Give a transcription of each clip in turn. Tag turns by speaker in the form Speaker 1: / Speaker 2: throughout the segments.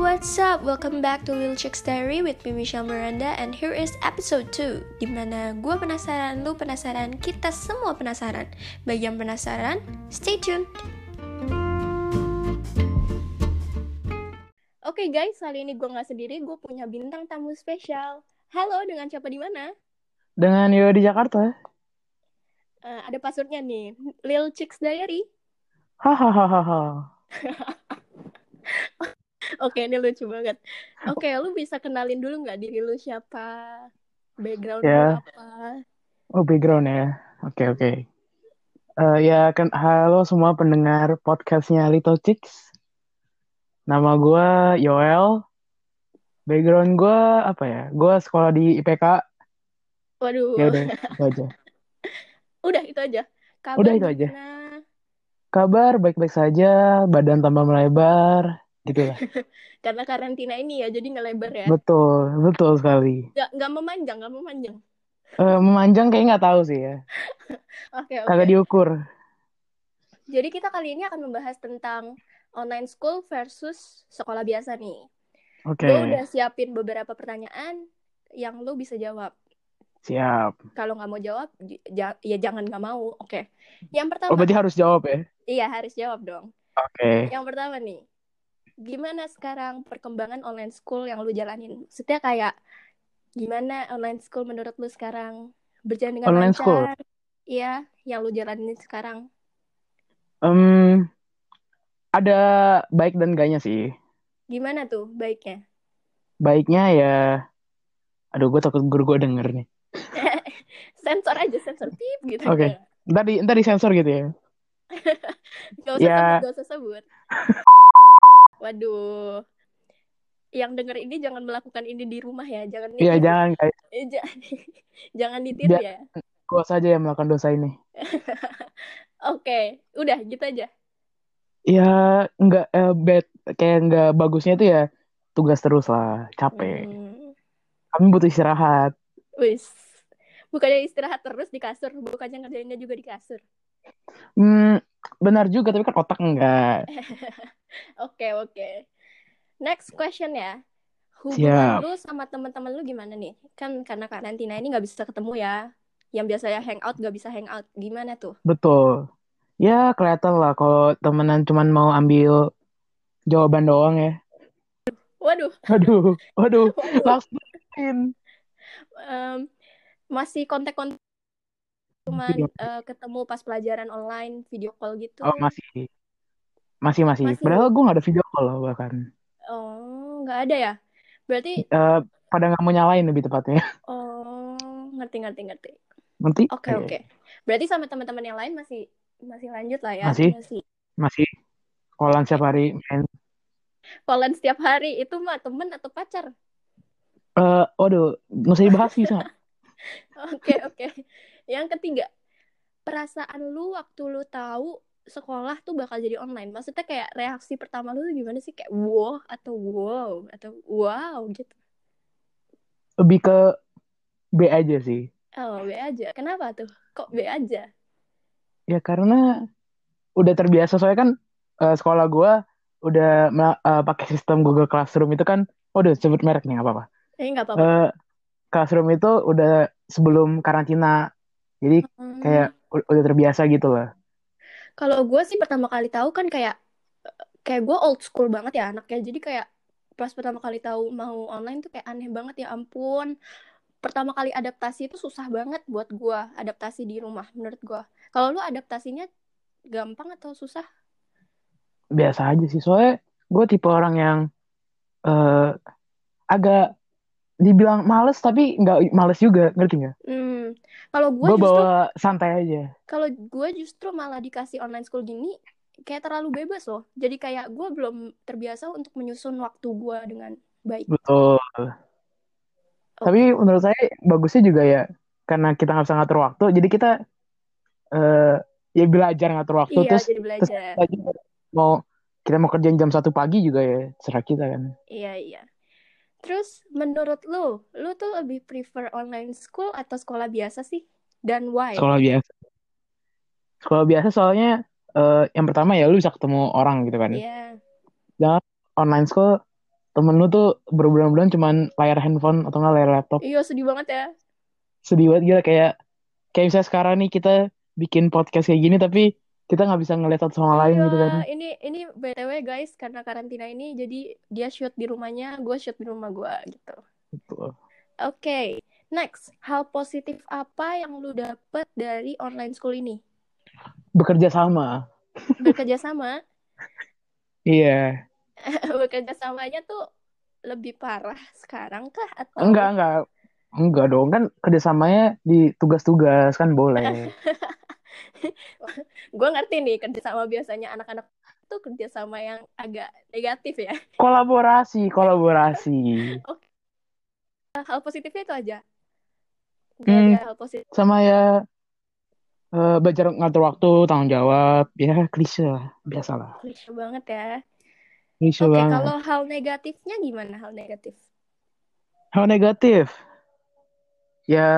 Speaker 1: what's up? Welcome back to Little Chicks Diary with me Michelle Miranda and here is episode 2 Dimana gue penasaran, lu penasaran, kita semua penasaran Bagi yang penasaran, stay tuned Oke guys, kali ini gue nggak sendiri, gue punya bintang tamu spesial Halo, dengan siapa di mana?
Speaker 2: Dengan Yo di Jakarta.
Speaker 1: Eh, ada passwordnya nih, Little Chicks Diary
Speaker 2: Hahaha.
Speaker 1: Oke, ini lucu banget. Oke, lu bisa kenalin dulu nggak diri lu siapa? Background lu
Speaker 2: Ya.
Speaker 1: apa?
Speaker 2: Oh background ya. Oke oke. Eh, ya kan halo semua pendengar podcastnya Little Chicks. Nama gue Yoel. Background gue apa ya? Gue sekolah di IPK.
Speaker 1: Waduh,
Speaker 2: Ya udah itu aja.
Speaker 1: udah itu aja. Kabar
Speaker 2: Udah, itu aja.
Speaker 1: gimana?
Speaker 2: Kabar baik-baik saja. Badan tambah melebar. Gitu lah.
Speaker 1: Karena karantina ini ya, jadi ngelebar ya.
Speaker 2: Betul betul sekali.
Speaker 1: Nggak, nggak memanjang, nggak memanjang.
Speaker 2: Eh, memanjang kayaknya nggak tahu sih ya.
Speaker 1: Oke, oke.
Speaker 2: Kagak diukur.
Speaker 1: Jadi kita kali ini akan membahas tentang online school versus sekolah biasa nih.
Speaker 2: Oke.
Speaker 1: Gue Ya udah siapin beberapa pertanyaan yang lu bisa jawab.
Speaker 2: Siap.
Speaker 1: Kalau nggak mau jawab, j- ja- ya jangan nggak mau. Oke. Yang
Speaker 2: Oh
Speaker 1: pertama,
Speaker 2: berarti harus jawab ya.
Speaker 1: iya harus jawab dong.
Speaker 2: Oke.
Speaker 1: Yang pertama nih, gimana sekarang perkembangan online school yang lu jalanin? Maksudnya kayak gimana online school menurut lu sekarang berjalan dengan
Speaker 2: Online
Speaker 1: lancar?
Speaker 2: school?
Speaker 1: Iya, yang lu jalanin sekarang.
Speaker 2: Em, ada baik dan enggaknya sih.
Speaker 1: Gimana tuh baiknya?
Speaker 2: Baiknya ya, aduh gue takut guru gue denger nih.
Speaker 1: sensor aja, sensor pip gitu.
Speaker 2: Oke. Ntar di, ntar disensor gitu ya.
Speaker 1: Gak usah
Speaker 2: Ya.
Speaker 1: sebut, gak usah sebut. Waduh. Yang denger ini jangan melakukan ini di rumah ya, jangan
Speaker 2: Iya
Speaker 1: ditiru.
Speaker 2: jangan guys,
Speaker 1: Eh, ja- jangan ditiru ya.
Speaker 2: gue saja yang melakukan dosa ini.
Speaker 1: Oke, udah gitu aja.
Speaker 2: Ya nggak eh, bad, kayak nggak bagusnya itu ya tugas terus lah, capek.
Speaker 1: Hmm.
Speaker 2: Kami butuh istirahat.
Speaker 1: Wis. Bukannya istirahat terus di kasur, bukannya ngerjainnya juga di kasur.
Speaker 2: Hmm, benar juga tapi kan otak enggak.
Speaker 1: Oke, oke. Next question ya. Hubungan
Speaker 2: Siap.
Speaker 1: lu sama teman-teman lu gimana nih? Kan karena karantina ini nggak bisa ketemu ya. Yang biasanya hangout nggak bisa hangout. Gimana tuh?
Speaker 2: Betul. Ya kelihatan lah kalau temenan cuman mau ambil jawaban doang ya.
Speaker 1: Waduh,
Speaker 2: Waduh, waduh,
Speaker 1: waduh.
Speaker 2: langsung in.
Speaker 1: Em, masih kontak-kontak cuman eh, ketemu pas pelajaran online, video call gitu.
Speaker 2: Oh, masih. Masih, masih.
Speaker 1: Masih.
Speaker 2: Padahal gue gak ada video call loh bahkan.
Speaker 1: Oh, nggak ada ya? Berarti
Speaker 2: Eh, pada gak mau nyalain lebih tepatnya.
Speaker 1: oh, ngerti ngerti ngerti.
Speaker 2: Nanti
Speaker 1: Oke, oke. Berarti sama teman-teman yang lain masih masih lanjut lah ya.
Speaker 2: Masih. masih callan setiap hari. main.
Speaker 1: Callan setiap hari itu mah temen atau pacar.
Speaker 2: Eh, waduh, nggak usah dibahas bisa. nggak?
Speaker 1: Oke, oke. Yang ketiga, perasaan lu waktu lu tahu sekolah tuh bakal jadi online. Maksudnya kayak reaksi pertama lu tuh gimana sih? Kayak wow atau wow atau wow gitu.
Speaker 2: Lebih ke B aja sih.
Speaker 1: Oh, B aja. Kenapa tuh? Kok B aja?
Speaker 2: Ya karena udah terbiasa. Soalnya kan eh, sekolah gue udah mela- eh, pakai sistem Google Classroom itu kan. Waduh, sebut merek nih, nggak apa-apa.
Speaker 1: Eh, nggak apa-apa.
Speaker 2: Eh, Classroom itu udah sebelum karantina. Jadi
Speaker 1: Hmm.
Speaker 2: Eh, kayak u- udah terbiasa gitu lah.
Speaker 1: Kalau gue sih pertama kali tahu kan kayak kayak gue old school banget ya anaknya. Jadi kayak pas pertama kali tahu mau online tuh kayak aneh banget ya ampun. Pertama kali adaptasi itu susah banget buat gue adaptasi di rumah menurut gue. Kalau lu adaptasinya gampang atau susah?
Speaker 2: biasa aja sih soalnya gue tipe orang yang eh agak dibilang males tapi nggak males juga ngerti nggak
Speaker 1: Hmm. Kalau gue
Speaker 2: gue
Speaker 1: justru
Speaker 2: bawa santai aja
Speaker 1: kalau gue justru malah dikasih online school gini kayak terlalu bebas loh. Jadi kayak gue belum terbiasa untuk menyusun waktu gue dengan baik.
Speaker 2: betul tapi menurut saya bagusnya juga ya karena kita nggak bisa ngatur waktu jadi kita eh ya belajar ngatur waktu
Speaker 1: Iya,
Speaker 2: terus
Speaker 1: jadi belajar.
Speaker 2: kita juga mau kita mau kerjain jam satu pagi juga ya serah kita kan
Speaker 1: Iya, iya. Terus menurut lu, lu tuh lebih prefer online school atau sekolah biasa sih? Dan why?
Speaker 2: sekolah biasa sekolah biasa soalnya eh yang pertama ya lu bisa ketemu orang gitu kan
Speaker 1: Iya.
Speaker 2: online school temen lu tuh berbulan-bulan cuman layar handphone atau nggak layar laptop
Speaker 1: Iya sedih banget ya.
Speaker 2: sedih banget gila kayak kayak misalnya sekarang nih kita bikin podcast kayak gini tapi kita nggak bisa ngeliat satu sama lain
Speaker 1: Iya,
Speaker 2: gitu kan
Speaker 1: Ini ini btw guys karena karantina ini jadi dia shoot di rumahnya, gue shoot di rumah gue gitu.
Speaker 2: Gitu.
Speaker 1: Oke, next hal positif apa yang lu dapet dari online school ini?
Speaker 2: bekerja sama
Speaker 1: Bekerja sama,
Speaker 2: iya
Speaker 1: bekerja samanya tuh lebih parah sekarang kah atau
Speaker 2: enggak enggak enggak dong kan kerjasamanya di tugas-tugas kan boleh
Speaker 1: Gue ngerti nih kerjasama biasanya anak-anak tuh kerjasama yang agak negatif ya.
Speaker 2: kolaborasi kolaborasi
Speaker 1: Hal positifnya itu aja. Gak
Speaker 2: Hmm.
Speaker 1: ada hal positif.
Speaker 2: sama ya eh, belajar ngatur waktu tanggung jawab ya klise lah biasa lah
Speaker 1: Klise banget ya.
Speaker 2: klise
Speaker 1: Oke,
Speaker 2: banget
Speaker 1: kalau hal negatifnya gimana hal negatif?
Speaker 2: hal negatif ya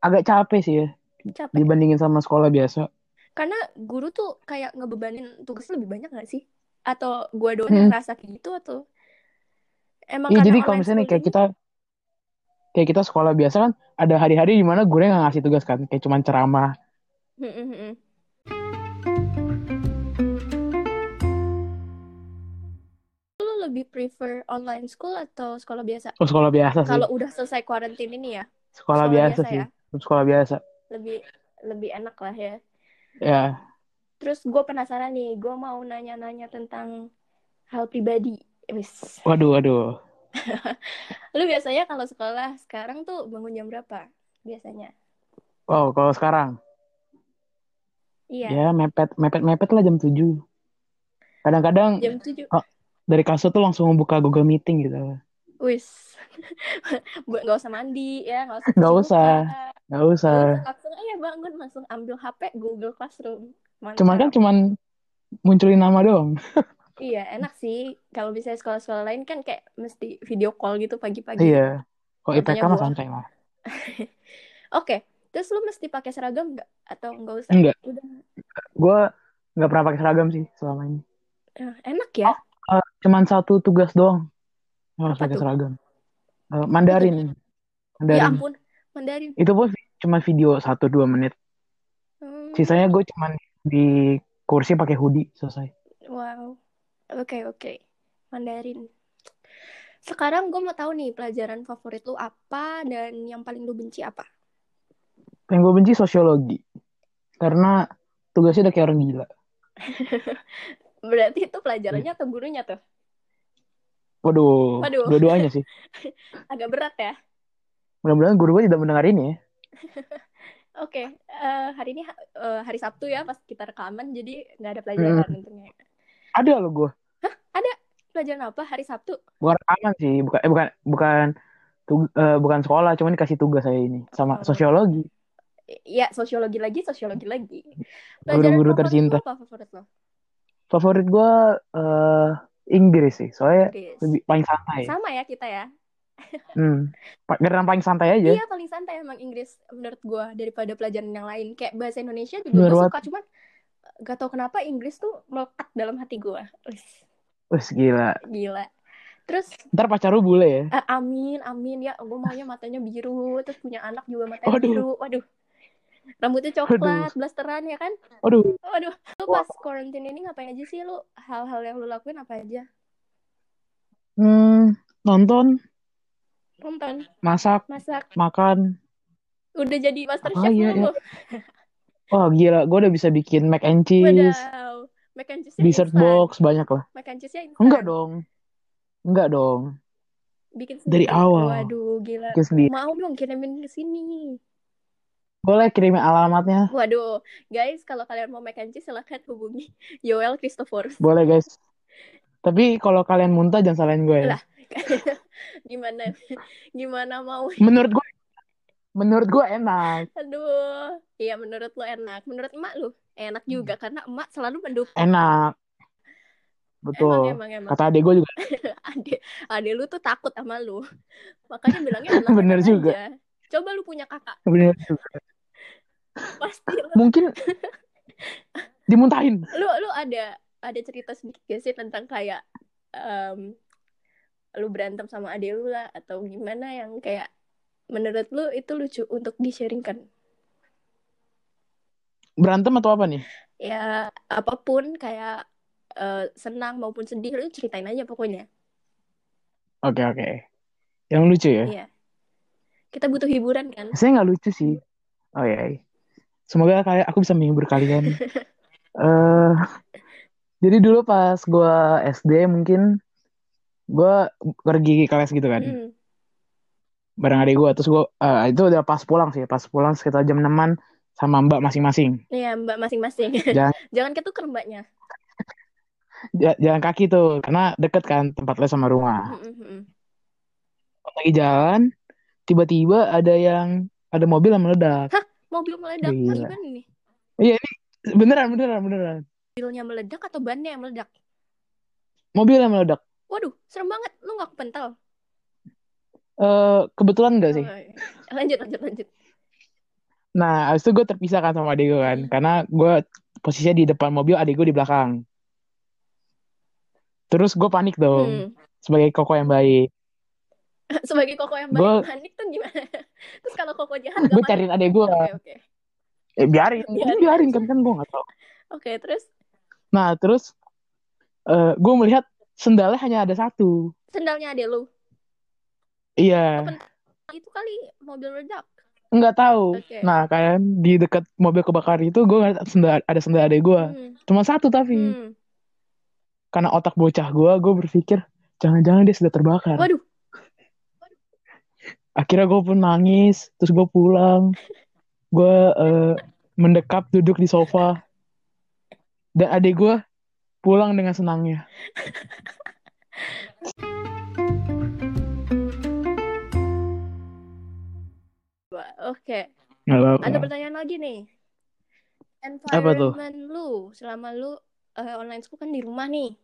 Speaker 2: agak capek sih ya
Speaker 1: Capek.
Speaker 2: dibandingin sama sekolah biasa
Speaker 1: Karena guru tuh kayak ngebebanin tugasnya lebih banyak gak sih? Atau gua doang yang
Speaker 2: Hmm.
Speaker 1: ngerasa kayak gitu atau emang
Speaker 2: Iya
Speaker 1: karena
Speaker 2: jadi kalau
Speaker 1: online
Speaker 2: misalnya nih, kayak
Speaker 1: school
Speaker 2: kita kayak kita sekolah biasa kan ada hari-hari di mana gurunya nggak ngasih tugas kan kayak cuman ceramah
Speaker 1: ini- Hmm, hmm, hmm. Lu lebih prefer online school atau sekolah biasa?
Speaker 2: oh, sekolah biasa sih
Speaker 1: Kalau udah selesai karantina ini ya, sekolah
Speaker 2: sekolah biasa
Speaker 1: biasa
Speaker 2: sih
Speaker 1: ya.
Speaker 2: sekolah biasa
Speaker 1: lebih lebih enak lah ya.
Speaker 2: ya
Speaker 1: Terus gue penasaran nih, gue mau nanya-nanya tentang hal pribadi. Wis.
Speaker 2: waduh waduh
Speaker 1: Lu biasanya kalau sekolah sekarang tuh bangun jam berapa? Biasanya.
Speaker 2: wow kalau sekarang
Speaker 1: Iya.
Speaker 2: ya mepet mepet mepet lah jam 7 kadang-kadang
Speaker 1: Jam 7.
Speaker 2: dari kasur tuh langsung buka Google Meeting gitu
Speaker 1: Wis. Buat nggak usah mandi ya, nggak usah cuci
Speaker 2: Nggak
Speaker 1: muka.
Speaker 2: usah. nggak usah
Speaker 1: Nggak usah, langsung aja bangun langsung ambil HP Google Classroom. Mantap.
Speaker 2: cuman kan cuman munculin nama doang
Speaker 1: Iya, enak sih. Kalau misalnya sekolah-sekolah lain kan kayak mesti video call gitu pagi-pagi.
Speaker 2: iya kalau IPK
Speaker 1: Makanya
Speaker 2: mah
Speaker 1: gua-
Speaker 2: santai lah
Speaker 1: Oke, terus lu mesti pakai seragam nggak? Atau nggak usah?
Speaker 2: enggak
Speaker 1: Udah.
Speaker 2: gue nggak pernah pakai seragam sih selama ini
Speaker 1: Eh, Enak ya?
Speaker 2: Eh, cuman satu tugas doang yang harus
Speaker 1: Apa
Speaker 2: pakai
Speaker 1: tuh?
Speaker 2: seragam Eh, Mandarin
Speaker 1: Ya
Speaker 2: Mandarin
Speaker 1: ampun, Mandarin.
Speaker 2: itu pun vi- cuma video satu dua menit
Speaker 1: Hmm,
Speaker 2: sisanya gue cuman di kursi pakai hoodie selesai
Speaker 1: Wow. Oke, oke. Mandarin. Sekarang gue mau tahu nih pelajaran favorit lu apa dan yang paling lu benci apa?
Speaker 2: yang gue benci sosiologi karena tugasnya udah kayak orang gila
Speaker 1: Berarti itu pelajarannya
Speaker 2: Hmm.
Speaker 1: atau gurunya tuh?
Speaker 2: waduh,
Speaker 1: Waduh.
Speaker 2: dua-duanya sih
Speaker 1: Agak berat ya.
Speaker 2: mudah-mudahan guru gue tidak mendengar ini ya
Speaker 1: Oke, eh, hari ini ha- eh, hari Sabtu ya pas kita rekaman jadi nggak ada
Speaker 2: Hmm.
Speaker 1: pelajaran untungnya.
Speaker 2: ada loh gue
Speaker 1: Pelajaran apa hari Sabtu?
Speaker 2: bukan rekaman sih bukan eh, bukan bukan tug- eh, bukan sekolah cuman dikasih tugas saya ini
Speaker 1: Oh.
Speaker 2: sama sosiologi
Speaker 1: I- Iya, sosiologi lagi, sosiologi lagi.
Speaker 2: Guru-guru
Speaker 1: favorit
Speaker 2: tercinta.
Speaker 1: lu apa favorit lo?
Speaker 2: favorit gue eh Inggris sih soalnya
Speaker 1: Inggris.
Speaker 2: Eh, lebih paling santai
Speaker 1: Sama ya kita ya.
Speaker 2: hmm. Pa- karena paling santai aja
Speaker 1: Iya paling santai emang Inggris menurut gue daripada pelajaran yang lain. Kayak bahasa Indonesia juga
Speaker 2: Bener
Speaker 1: gue
Speaker 2: banget.
Speaker 1: suka cuman eh, gak tau kenapa Inggris tuh melekat dalam hati gue. Wih,
Speaker 2: Wes gila
Speaker 1: gila. Terus
Speaker 2: ntar pacar lu bule ya
Speaker 1: eh, amin amin ya gue maunya matanya biru terus punya anak juga matanya
Speaker 2: Waduh.
Speaker 1: biru. Waduh. Rambutnya coklat, blasteran ya kan?
Speaker 2: aduh
Speaker 1: Waduh, lu
Speaker 2: Wah.
Speaker 1: pas quarantine ini ngapain aja sih lu? Hal-hal yang lu lakuin apa aja?
Speaker 2: hmm, nonton
Speaker 1: Nonton,
Speaker 2: masak
Speaker 1: masak,
Speaker 2: makan
Speaker 1: udah jadi master
Speaker 2: Apa
Speaker 1: chef
Speaker 2: ya,
Speaker 1: belum lu?
Speaker 2: wah gila gue udah bisa bikin mac and cheese
Speaker 1: Wadaw. Mac and cheese-nya
Speaker 2: dessert
Speaker 1: instan.
Speaker 2: box banyak lah
Speaker 1: Mac and cheese-nya instan.
Speaker 2: enggak dong enggak dong
Speaker 1: Bikin
Speaker 2: Dari
Speaker 1: sendiri.
Speaker 2: awal.
Speaker 1: Waduh, gila.
Speaker 2: bikin sendiri
Speaker 1: Mau dong kirimin ke sini.
Speaker 2: boleh kirimin alamatnya
Speaker 1: Waduh, guys, kalau kalian mau mac and cheese silahkan hubungi Yoel Christophorus.
Speaker 2: Boleh guys. Tapi kalau kalian muntah jangan salahin gue ya.
Speaker 1: Lah. gimana? Gimana mau?
Speaker 2: Menurut gue menurut gue enak.
Speaker 1: Aduh. Iya, menurut lu enak. Menurut emak lu enak
Speaker 2: Hmm.
Speaker 1: juga karena emak selalu mendukung.
Speaker 2: Enak.
Speaker 1: Emang,
Speaker 2: Betul.
Speaker 1: emang, emang.
Speaker 2: Kata adik gue juga
Speaker 1: Ade, ade lu tuh takut sama lu. Makanya bilangnya enak
Speaker 2: Bener juga.
Speaker 1: aja. Coba lu punya kakak,
Speaker 2: bener juga.
Speaker 1: pasti lu
Speaker 2: Mungkin dimuntahin.
Speaker 1: lu lu ada ada cerita sedikit gak sih tentang kayak em, lu berantem sama adik lu lah atau gimana yang kayak menurut lu itu lucu untuk di-sharingkan
Speaker 2: Berantem atau apa nih?
Speaker 1: ya apapun kayak eh, senang maupun sedih lu ceritain aja pokoknya
Speaker 2: Oke, oke. Yang lucu ya?
Speaker 1: iya kita butuh hiburan kan
Speaker 2: Saya nggak lucu sih. Oh ya. Semoga kalian aku bisa menghibur kalian. eh jadi dulu pas gua SD mungkin gua pergi ke kelas gitu kan.
Speaker 1: Mm.
Speaker 2: Bareng adik gua terus gua eh, itu udah pas pulang sih, pas pulang sekitar jam 6-an sama Mbak masing-masing.
Speaker 1: Iya, mbak masing-masing.
Speaker 2: Jangan-
Speaker 1: Jangan ketuker mbaknya.
Speaker 2: Ja- jalan kaki tuh karena deket kan tempat les sama rumah.
Speaker 1: Mm, mm, mm.
Speaker 2: Pas Lagi jalan tiba-tiba ada yang ada mobil yang meledak.
Speaker 1: Mobil meledak,
Speaker 2: Gila.
Speaker 1: Wah, gimana nih?
Speaker 2: Beneran, beneran, beneran.
Speaker 1: Mobilnya meledak atau bannya yang meledak?
Speaker 2: Mobil yang meledak.
Speaker 1: Waduh, serem banget. Lu gak kepental.
Speaker 2: Eh kebetulan enggak sih?
Speaker 1: Lanjut, lanjut, lanjut.
Speaker 2: Nah, abis itu gue terpisah kan sama adik gue kan. Karena gue posisinya di depan mobil, adik gue di belakang. Terus gue panik dong.
Speaker 1: Hmm.
Speaker 2: Sebagai koko yang baik.
Speaker 1: Sebagai koko yang baik,
Speaker 2: Gua-
Speaker 1: panik tuh gimana? Terus kalau koko jahat gak
Speaker 2: Gue
Speaker 1: panik?
Speaker 2: cariin adik gue.
Speaker 1: Oke, oke.
Speaker 2: Eh, biarin. Biarin,
Speaker 1: Biarin
Speaker 2: biarin
Speaker 1: aja.
Speaker 2: kan. Kan gue gak tau.
Speaker 1: Oke, terus
Speaker 2: Nah, terus eh gue melihat sendalnya hanya ada satu.
Speaker 1: sendalnya adek lu.
Speaker 2: Iya.
Speaker 1: Itu kali mobil meledak.
Speaker 2: Nggak tahu.
Speaker 1: Oke.
Speaker 2: Nah, kan di dekat mobil kebakaran itu gue ngeliat sendal, ada sendal adik gue.
Speaker 1: Hmm.
Speaker 2: Cuma satu tapi.
Speaker 1: hmm.
Speaker 2: Karena otak bocah gue, gue berpikir, jangan-jangan dia sudah terbakar.
Speaker 1: Waduh,
Speaker 2: akhirnya gue pun nangis terus gue pulang gue eh, mendekap duduk di sofa dan adik gue pulang dengan senangnya
Speaker 1: Wah, oke.
Speaker 2: Nggak apa-apa.
Speaker 1: Ada pertanyaan lagi nih.
Speaker 2: Iya. Apa tuh?
Speaker 1: Environment lu selama lu eh, online school kan di rumah nih.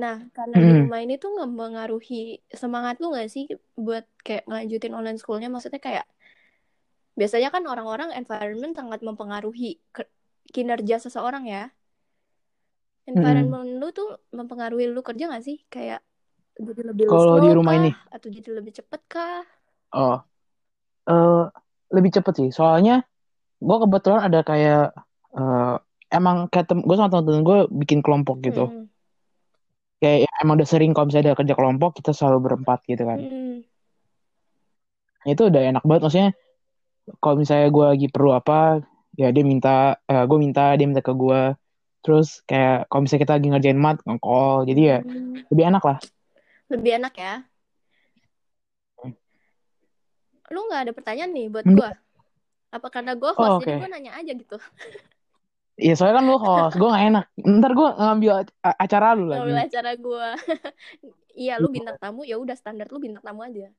Speaker 1: Nah, karena di
Speaker 2: Mm-mm.
Speaker 1: rumah ini tuh nggak mempengaruhi semangat lu nggak sih buat kayak ngelanjutin online schoolnya? Maksudnya kayak biasanya kan orang-orang environment sangat mempengaruhi ke- kinerja seseorang ya.
Speaker 2: Hmm.
Speaker 1: Environment lu tuh mempengaruhi lu kerja nggak sih? Kayak jadi lebih
Speaker 2: Kalau
Speaker 1: slow
Speaker 2: di rumah
Speaker 1: kah?
Speaker 2: ini?
Speaker 1: atau jadi lebih cepet kah?
Speaker 2: oh Eh, lebih cepet sih soalnya gue kebetulan ada kayak eh, emang kayak gue sama temen-temen gue bikin kelompok gitu
Speaker 1: Mm,
Speaker 2: kayak ya, emang udah sering kalau misalnya ada kerja kelompok kita selalu berempat gitu kan
Speaker 1: mm,
Speaker 2: itu udah enak banget maksudnya kalau misalnya gue lagi perlu apa ya dia minta eh, gue minta dia minta ke gue terus kayak kalau misalnya kita lagi ngerjain mat nge-call jadi ya
Speaker 1: mm.
Speaker 2: lebih enak lah
Speaker 1: Lebih enak ya. Lu nggak ada pertanyaan nih buat
Speaker 2: Hmm.
Speaker 1: gua? Apa karena gua host
Speaker 2: Oh,
Speaker 1: jadi
Speaker 2: oke.
Speaker 1: gua nanya aja gitu.
Speaker 2: ya soalnya kan lu host gue gak enak ntar gue ngambil a- acara lu lagi
Speaker 1: Ngambil acara gua. Iya, lu bintang tamu ya udah standar lu bintang tamu aja.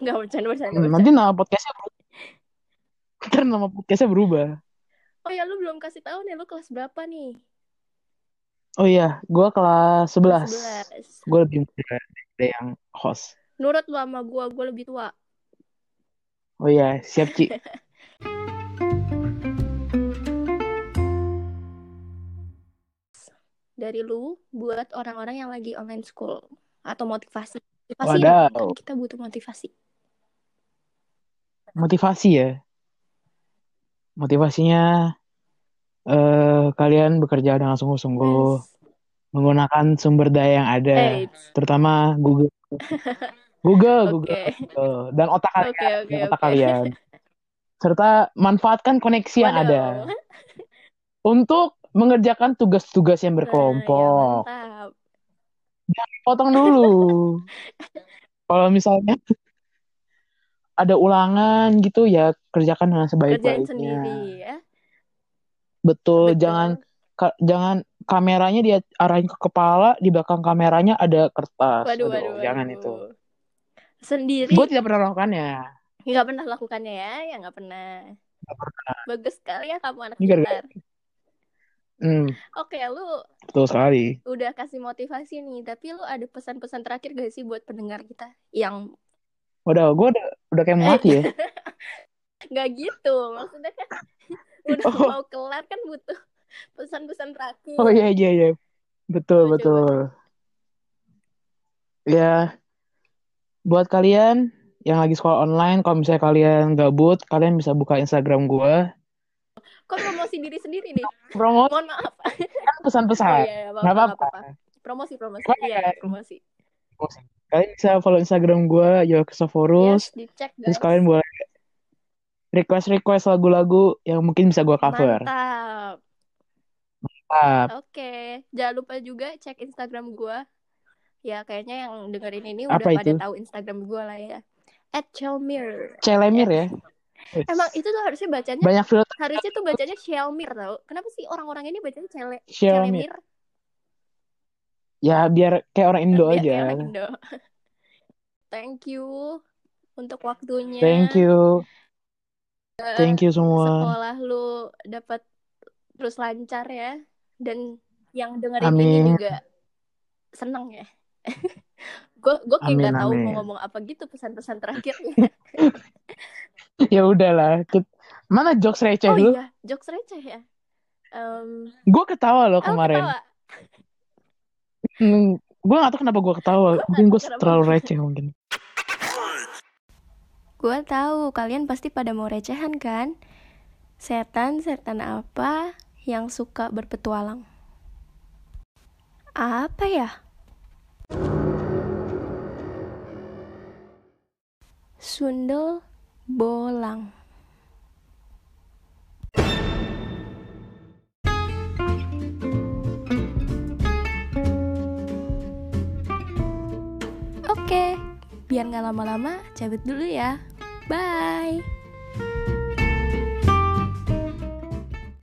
Speaker 1: Enggak bercanda bercanda
Speaker 2: Hmm,
Speaker 1: bercanda.
Speaker 2: nanti nama podcastnya berubah. ntar nama podcastnya berubah
Speaker 1: Oh ya lu belum kasih tahu nih lu kelas berapa nih?
Speaker 2: oh iya gue kelas 11
Speaker 1: 11.
Speaker 2: gue lebih muda dari yang host
Speaker 1: Nurut lu sama gua, gua lebih tua.
Speaker 2: oh iya siap Ci
Speaker 1: Dari lu buat orang-orang yang lagi online school atau motivasi. Motivasi
Speaker 2: Wadaw.
Speaker 1: dong, kan kita butuh motivasi.
Speaker 2: motivasi ya motivasinya eh kalian bekerja dengan sungguh-sungguh
Speaker 1: Yes.
Speaker 2: menggunakan sumber daya yang ada,
Speaker 1: Eits.
Speaker 2: terutama Google. Google, Google,
Speaker 1: Oke.
Speaker 2: Google. dan otak kalian,
Speaker 1: Oke, oke,
Speaker 2: dan otak
Speaker 1: oke.
Speaker 2: kalian. Serta manfaatkan koneksi yang iya, ada
Speaker 1: Waduh.
Speaker 2: untuk mengerjakan tugas-tugas yang
Speaker 1: Nah, ya
Speaker 2: berkelompok.
Speaker 1: mantap.
Speaker 2: Potong dulu. Kalau misalnya ada ulangan gitu ya kerjakan dengan
Speaker 1: Kerjain
Speaker 2: sebaik-baiknya.
Speaker 1: sendiri ya.
Speaker 2: Betul,
Speaker 1: Betul.
Speaker 2: Oh, jangan ka- jangan kameranya dia arahin ke kepala, di belakang kameranya ada kertas.
Speaker 1: Waduh,
Speaker 2: Aduh,
Speaker 1: waduh,
Speaker 2: jangan
Speaker 1: waduh.
Speaker 2: itu.
Speaker 1: Sendiri
Speaker 2: Gue tidak ya. pernah melakukannya.
Speaker 1: nggak pernah lakukannya ya, ya nggak pernah. Bagus sekali ya kamu anak
Speaker 2: Ini gara-gara-
Speaker 1: pintar.
Speaker 2: Hmm,
Speaker 1: Oke, lu
Speaker 2: betul sekali.
Speaker 1: udah kasih motivasi nih, tapi lu ada pesan-pesan terakhir gak sih buat pendengar kita yang eh,
Speaker 2: Waduh, gue udah, udah kayak mau mati ya.
Speaker 1: nggak gitu? Maksudnya kan udah
Speaker 2: Oh.
Speaker 1: mau kelar kan butuh pesan-pesan terakhir.
Speaker 2: Oh iya iya iya.
Speaker 1: Coba,
Speaker 2: Betul betul. Ya, buat kalian yang lagi sekolah online, kalau misalnya kalian gabut, kalian bisa buka Instagram gue.
Speaker 1: Kok promosi diri sendiri nih?
Speaker 2: Promosi
Speaker 1: Mohon maaf.
Speaker 2: pesan-pesan.
Speaker 1: iya, iya,
Speaker 2: Nggak apa-apa. ya?
Speaker 1: Promosi, promosi.
Speaker 2: Nggak
Speaker 1: Iya,
Speaker 2: apa-apa.
Speaker 1: promosi.
Speaker 2: Kalian bisa follow Instagram gue,
Speaker 1: Yes,
Speaker 2: Yokesoforus.
Speaker 1: Iya, dicek guys.
Speaker 2: Terus kalian boleh request-request lagu-lagu yang mungkin bisa gue cover.
Speaker 1: Mantap.
Speaker 2: Ah,
Speaker 1: Oke, jangan lupa juga cek Instagram gua. Ya, kayaknya yang dengerin ini udah
Speaker 2: Apa
Speaker 1: pada
Speaker 2: itu?
Speaker 1: tahu Instagram gua lah ya. At Chelmir.
Speaker 2: Celemir ya.
Speaker 1: Emang itu tuh harusnya bacanya
Speaker 2: banyak filter
Speaker 1: harusnya tuh bacanya Chelmir tau. Kenapa sih orang-orang ini bacanya Cele
Speaker 2: Xiaomi.
Speaker 1: Celemir?
Speaker 2: Ya biar kayak orang Indo
Speaker 1: Biar kayak
Speaker 2: aja.
Speaker 1: orang Indo. Iya, Thank you untuk waktunya.
Speaker 2: Thank you. Thank you semua.
Speaker 1: Sekolah lu dapat terus lancar ya dan yang dengerin
Speaker 2: Amin.
Speaker 1: ini juga seneng ya. gue gue kayak
Speaker 2: Amin,
Speaker 1: nggak tahu
Speaker 2: amin.
Speaker 1: mau ngomong apa gitu pesan-pesan terakhirnya.
Speaker 2: Ya udahlah. Kit- Mana jokes
Speaker 1: oh
Speaker 2: receh lu?
Speaker 1: iya, jokes receh ya. Em,
Speaker 2: Gue ketawa
Speaker 1: oh,
Speaker 2: loh kemarin. Hmm,
Speaker 1: ketawa.
Speaker 2: gue gak tau kenapa gue ketawa.
Speaker 1: Gua
Speaker 2: Mungkin
Speaker 1: nggak
Speaker 2: gue
Speaker 1: tahu kenapa.
Speaker 2: terlalu receh mungkin.
Speaker 1: Gua tahu kalian pasti pada mau recehan kan? Setan, setan apa yang suka berpetualang? Apa ya? Sundel bolang. Oke, biar nggak lama-lama cabut dulu ya. Bye.